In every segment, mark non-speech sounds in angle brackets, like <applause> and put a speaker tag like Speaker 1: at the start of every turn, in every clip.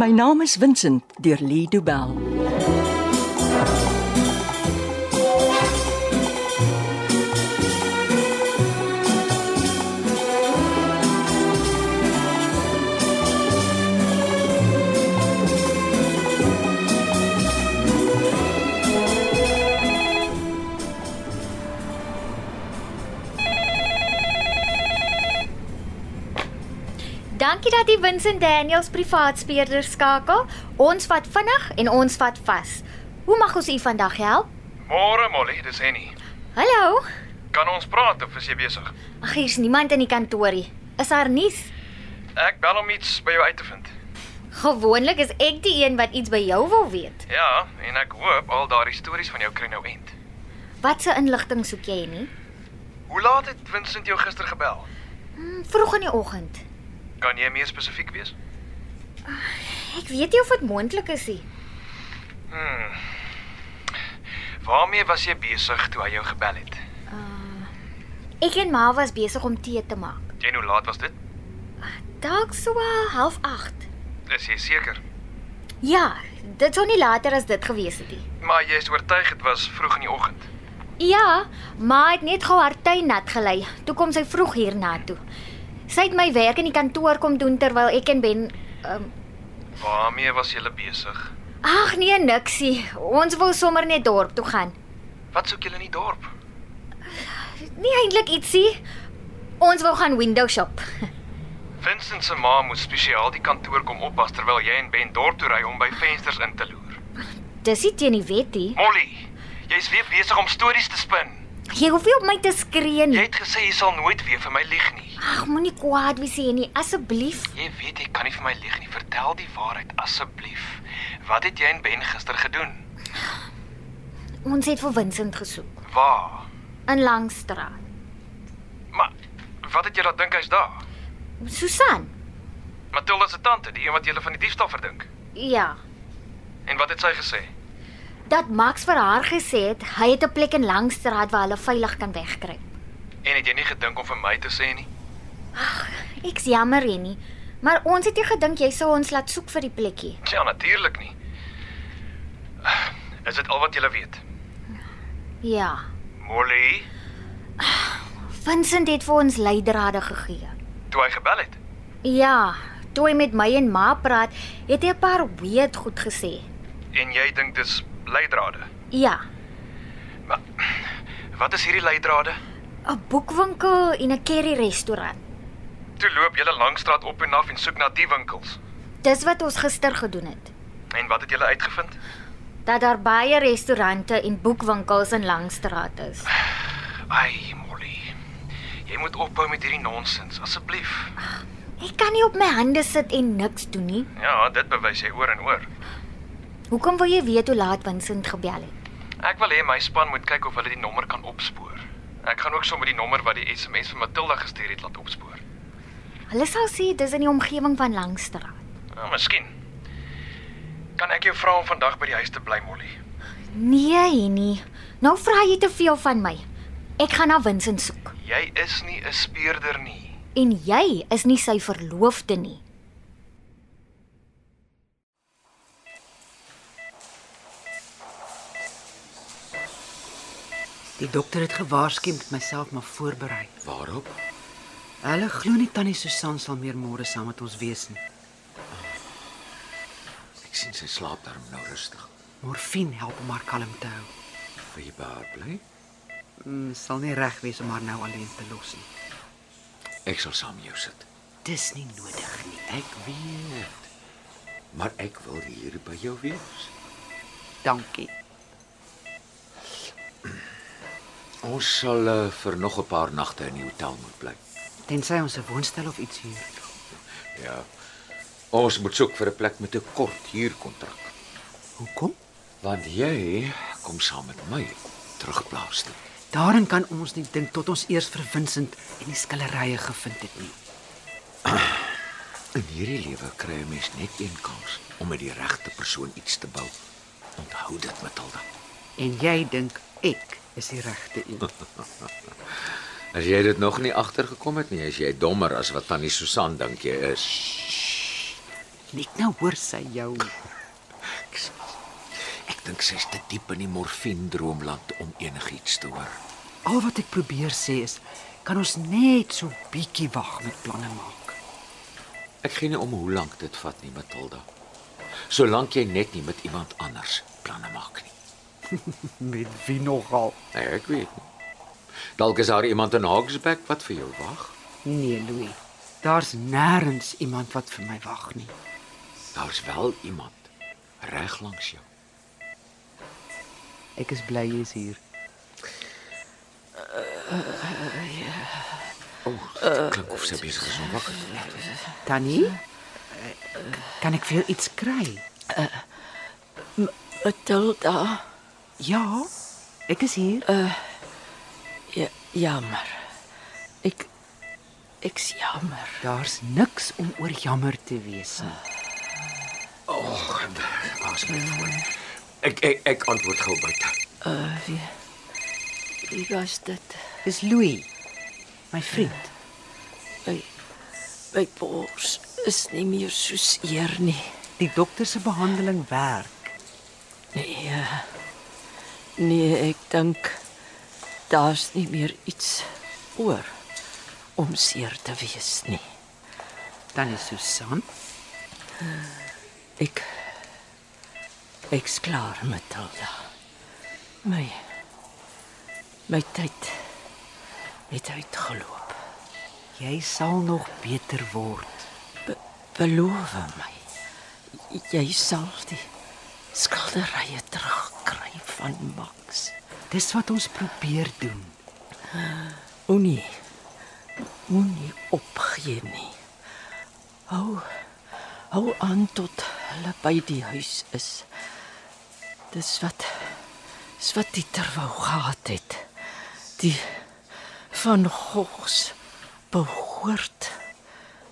Speaker 1: My naam is Vincent deur Lee Du Bell.
Speaker 2: Dankie dat jy Vincent Daniels privaat speurder skakel. Ons vat vinnig en ons vat vas. Hoe mag ons u vandag help?
Speaker 3: Môre Molly, dis Henny.
Speaker 2: Hallo.
Speaker 3: Kan ons praat of is jy besig?
Speaker 2: Ag hier's niemand in die kantoorie. Is daar nuus?
Speaker 3: Ek bel om iets by jou uit te vind.
Speaker 2: Gewoonlik is ek die een wat iets by jou wil weet.
Speaker 3: Ja, en ek hoop al daardie stories van jou kry nou end.
Speaker 2: Watse inligting soek jy nie?
Speaker 3: Hoe laat het Vincent jou gister gebel?
Speaker 2: Hmm, vroeg in die oggend.
Speaker 3: Kan jy meer spesifiek wees?
Speaker 2: Ek weet nie of dit moontlik is nie.
Speaker 3: Hmm. Waarmee was jy besig toe hy jou gebel het?
Speaker 2: Ek en Ma was besig om tee te maak.
Speaker 3: En hoe laat was dit?
Speaker 2: Dalk so ah, half 8.
Speaker 3: Is jy seker?
Speaker 2: Ja, dit sou nie later as dit gewees het nie.
Speaker 3: Maar jy is oortuig dit was vroeg in die oggend.
Speaker 2: Ja, ma het net gou haar tuin nat gelei. Toe kom sy vroeg hiernatoe. Sy het my werk in die kantoor kom doen terwyl ek en Ben um,
Speaker 3: Waarmee was jy besig?
Speaker 2: Ag nee, niksie. Ons wou sommer net dorp toe gaan.
Speaker 3: Wat soek julle in die dorp?
Speaker 2: Nie eintlik ietsie. Ons wou gaan window shop.
Speaker 3: Vincent se ma moes spesiaal die kantoor kom oppas terwyl jy en Ben dorp toe ry om by vensters in te loer.
Speaker 2: Dis nie teen die wet nie.
Speaker 3: Molly, jy's weer besig om stories te spin.
Speaker 2: Jy hoef nie op my te skree
Speaker 3: Jy
Speaker 2: nie.
Speaker 3: het gesê jy sal nooit weer vir my lieg nie.
Speaker 2: Ag, moenie kwaad wees hier nie, asseblief.
Speaker 3: Jy weet jy kan nie vir my lieg nie. Vertel die waarheid asseblief. Wat het jy en Ben gister gedoen?
Speaker 2: Ons het vir Vincent gesoek
Speaker 3: Waar?
Speaker 2: in Langstraat.
Speaker 3: Maar wat het jy laat dink hy's daar?
Speaker 2: Susan.
Speaker 3: Matilda se tante, die een wat jy van die diefstal verdink.
Speaker 2: Ja.
Speaker 3: En wat het sy gesê?
Speaker 2: dat Max vir haar gesê het hy het 'n plek in Langstraat waar hulle veilig kan wegkruip.
Speaker 3: En het jy nie gedink om vir my te sê nie?
Speaker 2: Ek's jammer Rennie, maar ons het nie gedink jy sou ons laat soek vir die plekkie.
Speaker 3: Ja, natuurlik nie. Is dit al wat jy weet?
Speaker 2: Ja,
Speaker 3: Molly,
Speaker 2: Vincent het vir ons leidrade gegee.
Speaker 3: toe hy gebel het.
Speaker 2: Ja, toe hy met my en Ma praat, het hy 'n paar weird goed gesê.
Speaker 3: En jy dink dis leidrade.
Speaker 2: Ja,
Speaker 3: Maar wat is hierdie leidrade?
Speaker 2: 'n boekwinkel en 'n curry restaurant.
Speaker 3: Toe loop julle langstraat op en af en soek na die winkels.
Speaker 2: Dis wat ons gister gedoen het.
Speaker 3: En wat het julle uitgevind?
Speaker 2: Dat daar baie restaurante en boekwinkels in Langstraat is.
Speaker 3: Ai, Molly. Jy moet ophou met hierdie nonsens, asseblief.
Speaker 2: Ek kan nie op my hande sit en niks doen nie.
Speaker 3: Ja, dit bewys jy oor en oor.
Speaker 2: Hoekom wil jy weet hoe laat Vincent gebel het?
Speaker 3: Ek wil hê my span moet kyk of hulle die nommer kan opspoor. Ek gaan ook sommer die nommer wat die SMS vir Matilda gestuur het laat opspoor.
Speaker 2: Hulle sal sê dis in die omgewing van Langstraat.
Speaker 3: Nou, miskien. Kan ek jou vra om vandag by die huis te bly, Molly?
Speaker 2: Nee, Henny. Nou vra jy te veel van my. Ek gaan na Vincent soek
Speaker 3: Jy is nie 'n speurder nie.
Speaker 2: en jy is nie sy verloofde nie.
Speaker 4: Die dokter het gewaarsku met myself maar voorberei.
Speaker 5: Waarop?
Speaker 4: Hulle glo nie tannie Susan sal meer môre saam met ons wees nie.
Speaker 5: Ek sien sy slaap daarom nou rustig.
Speaker 4: Morfine help om haar kalm te hou.
Speaker 5: Wil jy by haar bly?
Speaker 4: Mm, sal nie reg wees om haar nou alleen te los nie.
Speaker 5: Ek sal saam jou sit.
Speaker 4: Dis nie nodig nie.
Speaker 5: Ek weet. Maar ek wil hier by jou wees.
Speaker 4: Dankie.
Speaker 5: Ons sal uh, vir nog 'n paar nagte in die hotel moet bly.
Speaker 4: Tensy ons 'n woonstel of iets huur.
Speaker 5: Ja. Ons moet soek vir 'n plek met 'n kort huurkontrak,
Speaker 4: Hoekom?
Speaker 5: want jy kom saam met my terugplaas toe.
Speaker 4: Daarin kan ons nie dink tot ons eers vir Vincent en die skillerye gevind het nie.
Speaker 5: In hierdie lewe kry 'n mens net een kans om met die regte persoon iets te bou. Onthou dit, Matilda.
Speaker 4: En jy dink ek is die regte een.
Speaker 5: As jy dit nog nie agtergekom het nie, is jy dommer as wat tannie Susan dink jy is.
Speaker 4: Net nou hoor sy jou.
Speaker 5: Ek dink sy's te diep in die morfiendroomland om enigiets te hoor.
Speaker 4: Al wat ek probeer sê is, kan ons net so bietjie wag met planne maak.
Speaker 5: Ek gee nie om hoe lank dit vat nie, Matilda. Solank jy net nie met iemand anders planne maak nie.
Speaker 4: Met wie nogal?
Speaker 5: Nee, ek weet nie. Dalk is daar iemand in Hawksbeck wat vir jou wag.
Speaker 4: Nee, Louis. Daar's nêrens iemand wat vir my wag nie.
Speaker 5: Daar's wel iemand reg langs jou.
Speaker 4: Ek is bly jy is hier.
Speaker 5: Dit klink of sy besig is om wakker te word.
Speaker 4: Tannie? Kan ek vir jou iets kry?
Speaker 6: Matilda,
Speaker 4: Ja, ek is hier. Uh,
Speaker 6: ja, jammer. Ek ek's jammer.
Speaker 4: Daar's niks om oor jammer te wees nie.
Speaker 5: Pas my voor. nee, Ek ek ek antwoord gou buite.
Speaker 6: Uh, wie wie was dit?
Speaker 4: Dis Louis, my vriend.
Speaker 6: My my bors is nie meer so seer nie.
Speaker 4: Die dokter se behandeling werk.
Speaker 6: Nee. eh, Nee, ek dink daar's nie meer iets oor om seer te wees nie.
Speaker 4: Dan is Susan.
Speaker 6: Ek ek's klaar, Matilda. My my tyd het uitgeloop.
Speaker 4: Jy sal nog beter word.
Speaker 6: Be beloof my. Jy sal die skilderye terugkry van Max.
Speaker 4: Dis wat ons probeer doen.
Speaker 6: Moenie moenie opgee nie. Hou hou aan tot hulle by die huis is. Dis wat dis wat Dieter wou gehad het. Die van Gogs behoort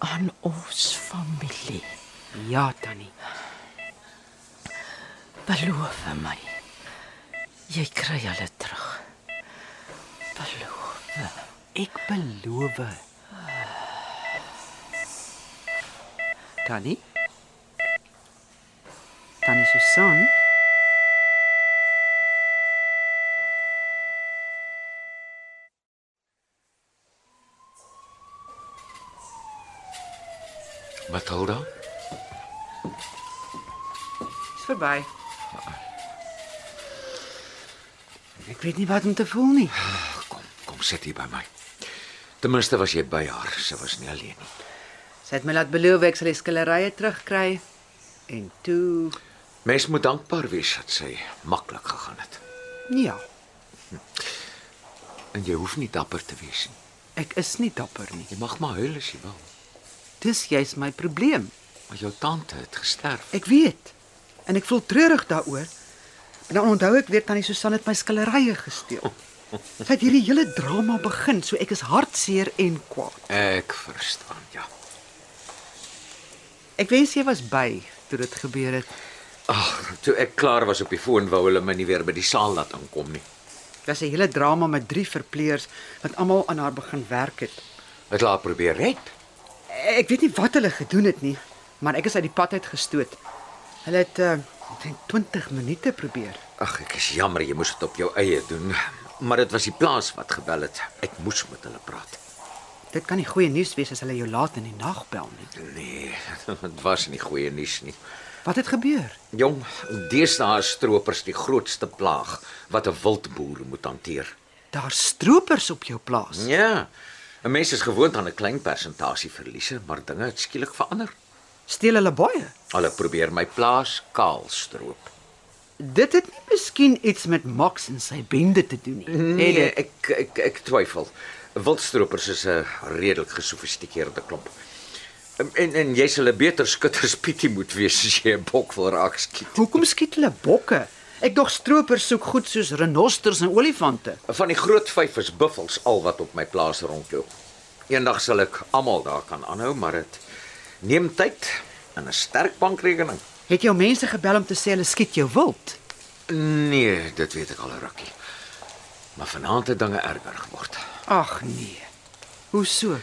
Speaker 6: aan ons familie.
Speaker 4: Ja, Tannie.
Speaker 6: Beloof my. Jy kry hulle terug. Beloof.
Speaker 4: Ek beloof. Tannie? Tannie Susan?
Speaker 5: Matilda,
Speaker 4: Dis verby. Ek weet nie wat om te voel nie.
Speaker 5: kom kom sit hier by my. Ten minste was jy by haar. Sy was nie alleen nie.
Speaker 4: Sy het my laat beloof ek sal die skillerye terugkry. En toe,
Speaker 5: Mens moet dankbaar wees dat sy maklik gegaan het.
Speaker 4: ja,
Speaker 5: En jy hoef nie dapper te wees nie.
Speaker 4: ek is nie dapper nie.
Speaker 5: Jy mag maar huil as jy wil.
Speaker 4: Dis juis my probleem.
Speaker 5: Maar jou tante het gesterf.
Speaker 4: Ek weet. En ek voel treurig daaroor. En dan onthou ek weer tannie Susan het my skillerye gesteel. Sy het hierdie hele drama begin, so ek is hartseer en kwaad.
Speaker 5: Ek verstaan, ja.
Speaker 4: Ek wens jy was by toe dit gebeur het.
Speaker 5: Ag, toe ek klaar was op die foon wou hulle my nie weer by die saal laat aankom nie.
Speaker 4: Dit was 'n hele drama met drie verpleegers wat almal aan haar begin werk het.
Speaker 5: Het laat probeer red.
Speaker 4: Ek weet nie wat hulle gedoen het nie, maar ek is uit die pad uit gestoot. Hulle het uh, ek dink 20 minute probeer.
Speaker 5: Ag, ek is jammer jy moes dit op jou eie doen, maar dit was die plaas wat gebel het. Ek moes met hulle praat.
Speaker 4: Dit kan nie goeie nuus wees as hulle jou laat in die nag bel nie.
Speaker 5: Nee, <laughs> dit was nie goeie nuus nie.
Speaker 4: Wat het gebeur?
Speaker 5: Jong, deesdae is stroopers die grootste plaag wat 'n wildboer moet hanteer.
Speaker 4: Daar stroopers op jou plaas.
Speaker 5: Ja. 'n Mens is gewoond aan 'n klein persentasie verliese, maar dinge het skielik verander.
Speaker 4: Steel hulle baie?
Speaker 5: Hulle probeer my plaas kaal stroop.
Speaker 4: Dit het nie miskien iets met Max en sy bende te doen nie.
Speaker 5: Nee,
Speaker 4: het
Speaker 5: nee, ek ek ek twyfel. Wildstroopers is 'n redelik gesofistikeerde klomp. Ehm, En en jy sal 'n beter skutter spietie moet wees as jy 'n bok wil raak skiet.
Speaker 4: dit. Hoekom skiet hulle bokke? Ek dog stroopers soek goed soos renosters en olifante.
Speaker 5: Van die groot vyf is buffels al wat op my plaas rondloop. Eendag sal ek almal daar kan aanhou, maar dit neem tyd en 'n sterk bankrekening.
Speaker 4: Het jou mense gebel om te sê hulle skiet jou wild?
Speaker 5: Nee, dit weet ek al 'n rukkie. Maar vanaand het dinge erger geword.
Speaker 4: Ag nee. Hoe so?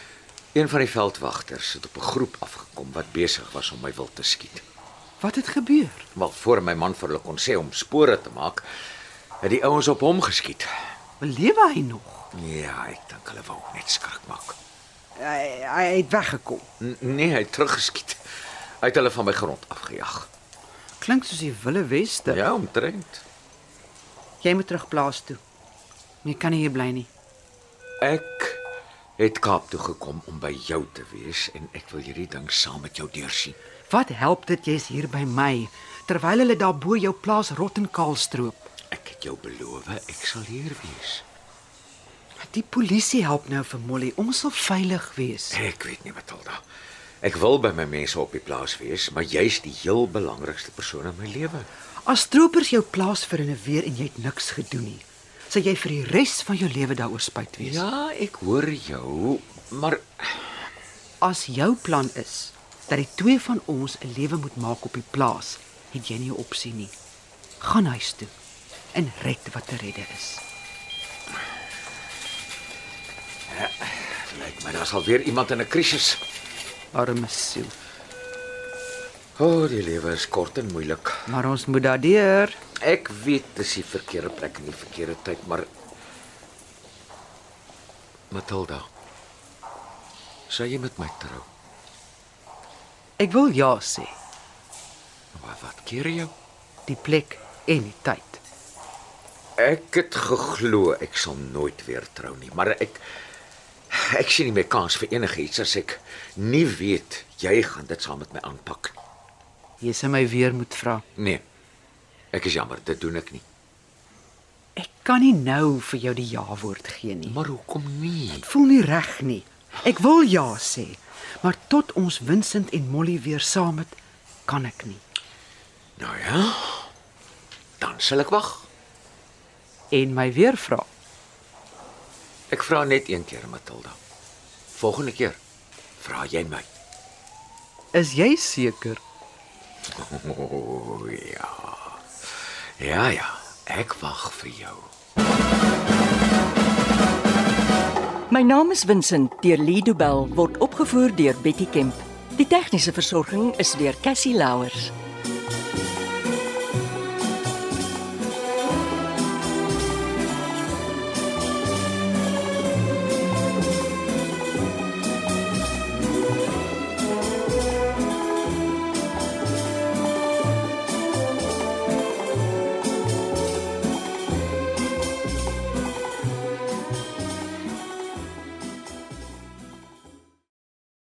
Speaker 5: Een van die veldwagters het op 'n groep afgekom wat besig was om my wil te skiet.
Speaker 4: Wat het gebeur?
Speaker 5: Maar voor my man vir hulle kon sê om spore te maak, het die ouens op hom geskiet.
Speaker 4: Lewe hy nog?
Speaker 5: Ja, ek dink hulle wou net skrik maak.
Speaker 4: Hy, hy het weggekom.
Speaker 5: N nee, hy het teruggeskiet. Hy het hulle van my grond afgejag.
Speaker 4: Klink soos die Wille Weste.
Speaker 5: Ja, omtrent.
Speaker 4: Jy moet terugplaas toe. Jy kan nie hier bly nie.
Speaker 5: Ek het Kaap toe gekom om by jou te wees en ek wil hierdie ding saam met jou deursien.
Speaker 4: Wat help dit jy's hier by my terwyl hulle daarbo jou plaas rot en kaal stroop?
Speaker 5: Ek het jou beloof ek sal hier wees.
Speaker 4: Die polisie help nou vir Molly. Ons sal veilig wees.
Speaker 5: Ek weet nie Matilda. Ek wil by my mense op die plaas wees, maar jy's die heel belangrikste persoon in my lewe.
Speaker 4: As stroopers jou plaas verinneweer en jy het niks gedoen nie, sal jy vir die res van jou lewe daaroor spyt wees.
Speaker 5: Ja, ek hoor jou, maar
Speaker 4: As jou plan is dat die twee van ons 'n lewe moet maak op die plaas, het jy nie 'n opsie nie. Gaan huis toe en red wat te redde is.
Speaker 5: dit lyk my daar's alweer iemand in 'n krisis.
Speaker 4: Arme siel.
Speaker 5: O, oh, die lewe is kort en moeilik.
Speaker 4: Maar ons moet daardeur.
Speaker 5: Ek weet dis die verkeerde plek en die verkeerde tyd, maar Matilda, sou jy met my trou?
Speaker 4: Ek wil ja sê,
Speaker 5: Wat wat keer jou?
Speaker 4: die plek en die tyd.
Speaker 5: Ek het geglo ek sal nooit weer trou nie, maar ek ek sien nie meer kans vir enigiets as ek nie weet jy gaan dit saam met my aanpak nie.
Speaker 4: Jy sê my weer moet vra.
Speaker 5: Nee. Ek is jammer, dit doen ek nie.
Speaker 4: Ek kan nie nou vir jou die ja woord gee nie.
Speaker 5: Maar hoekom nie?
Speaker 4: voel nie reg nie. Ek wil ja sê, maar tot ons Vincent en Molly weer saam het, kan ek nie.
Speaker 5: Nou ja. Dan sal ek wag.
Speaker 4: En my weer vra.
Speaker 5: Ek vra net een keer, Matilda. Volgende keer vra jy my.
Speaker 4: Is jy seker?
Speaker 5: O ja. Ja ja, ek wag vir jou.
Speaker 1: My naam is Vincent deur Lee Du Bell word opgevoer deur Betty Kemp. Die tegniese versorging is deur Cassie Louers.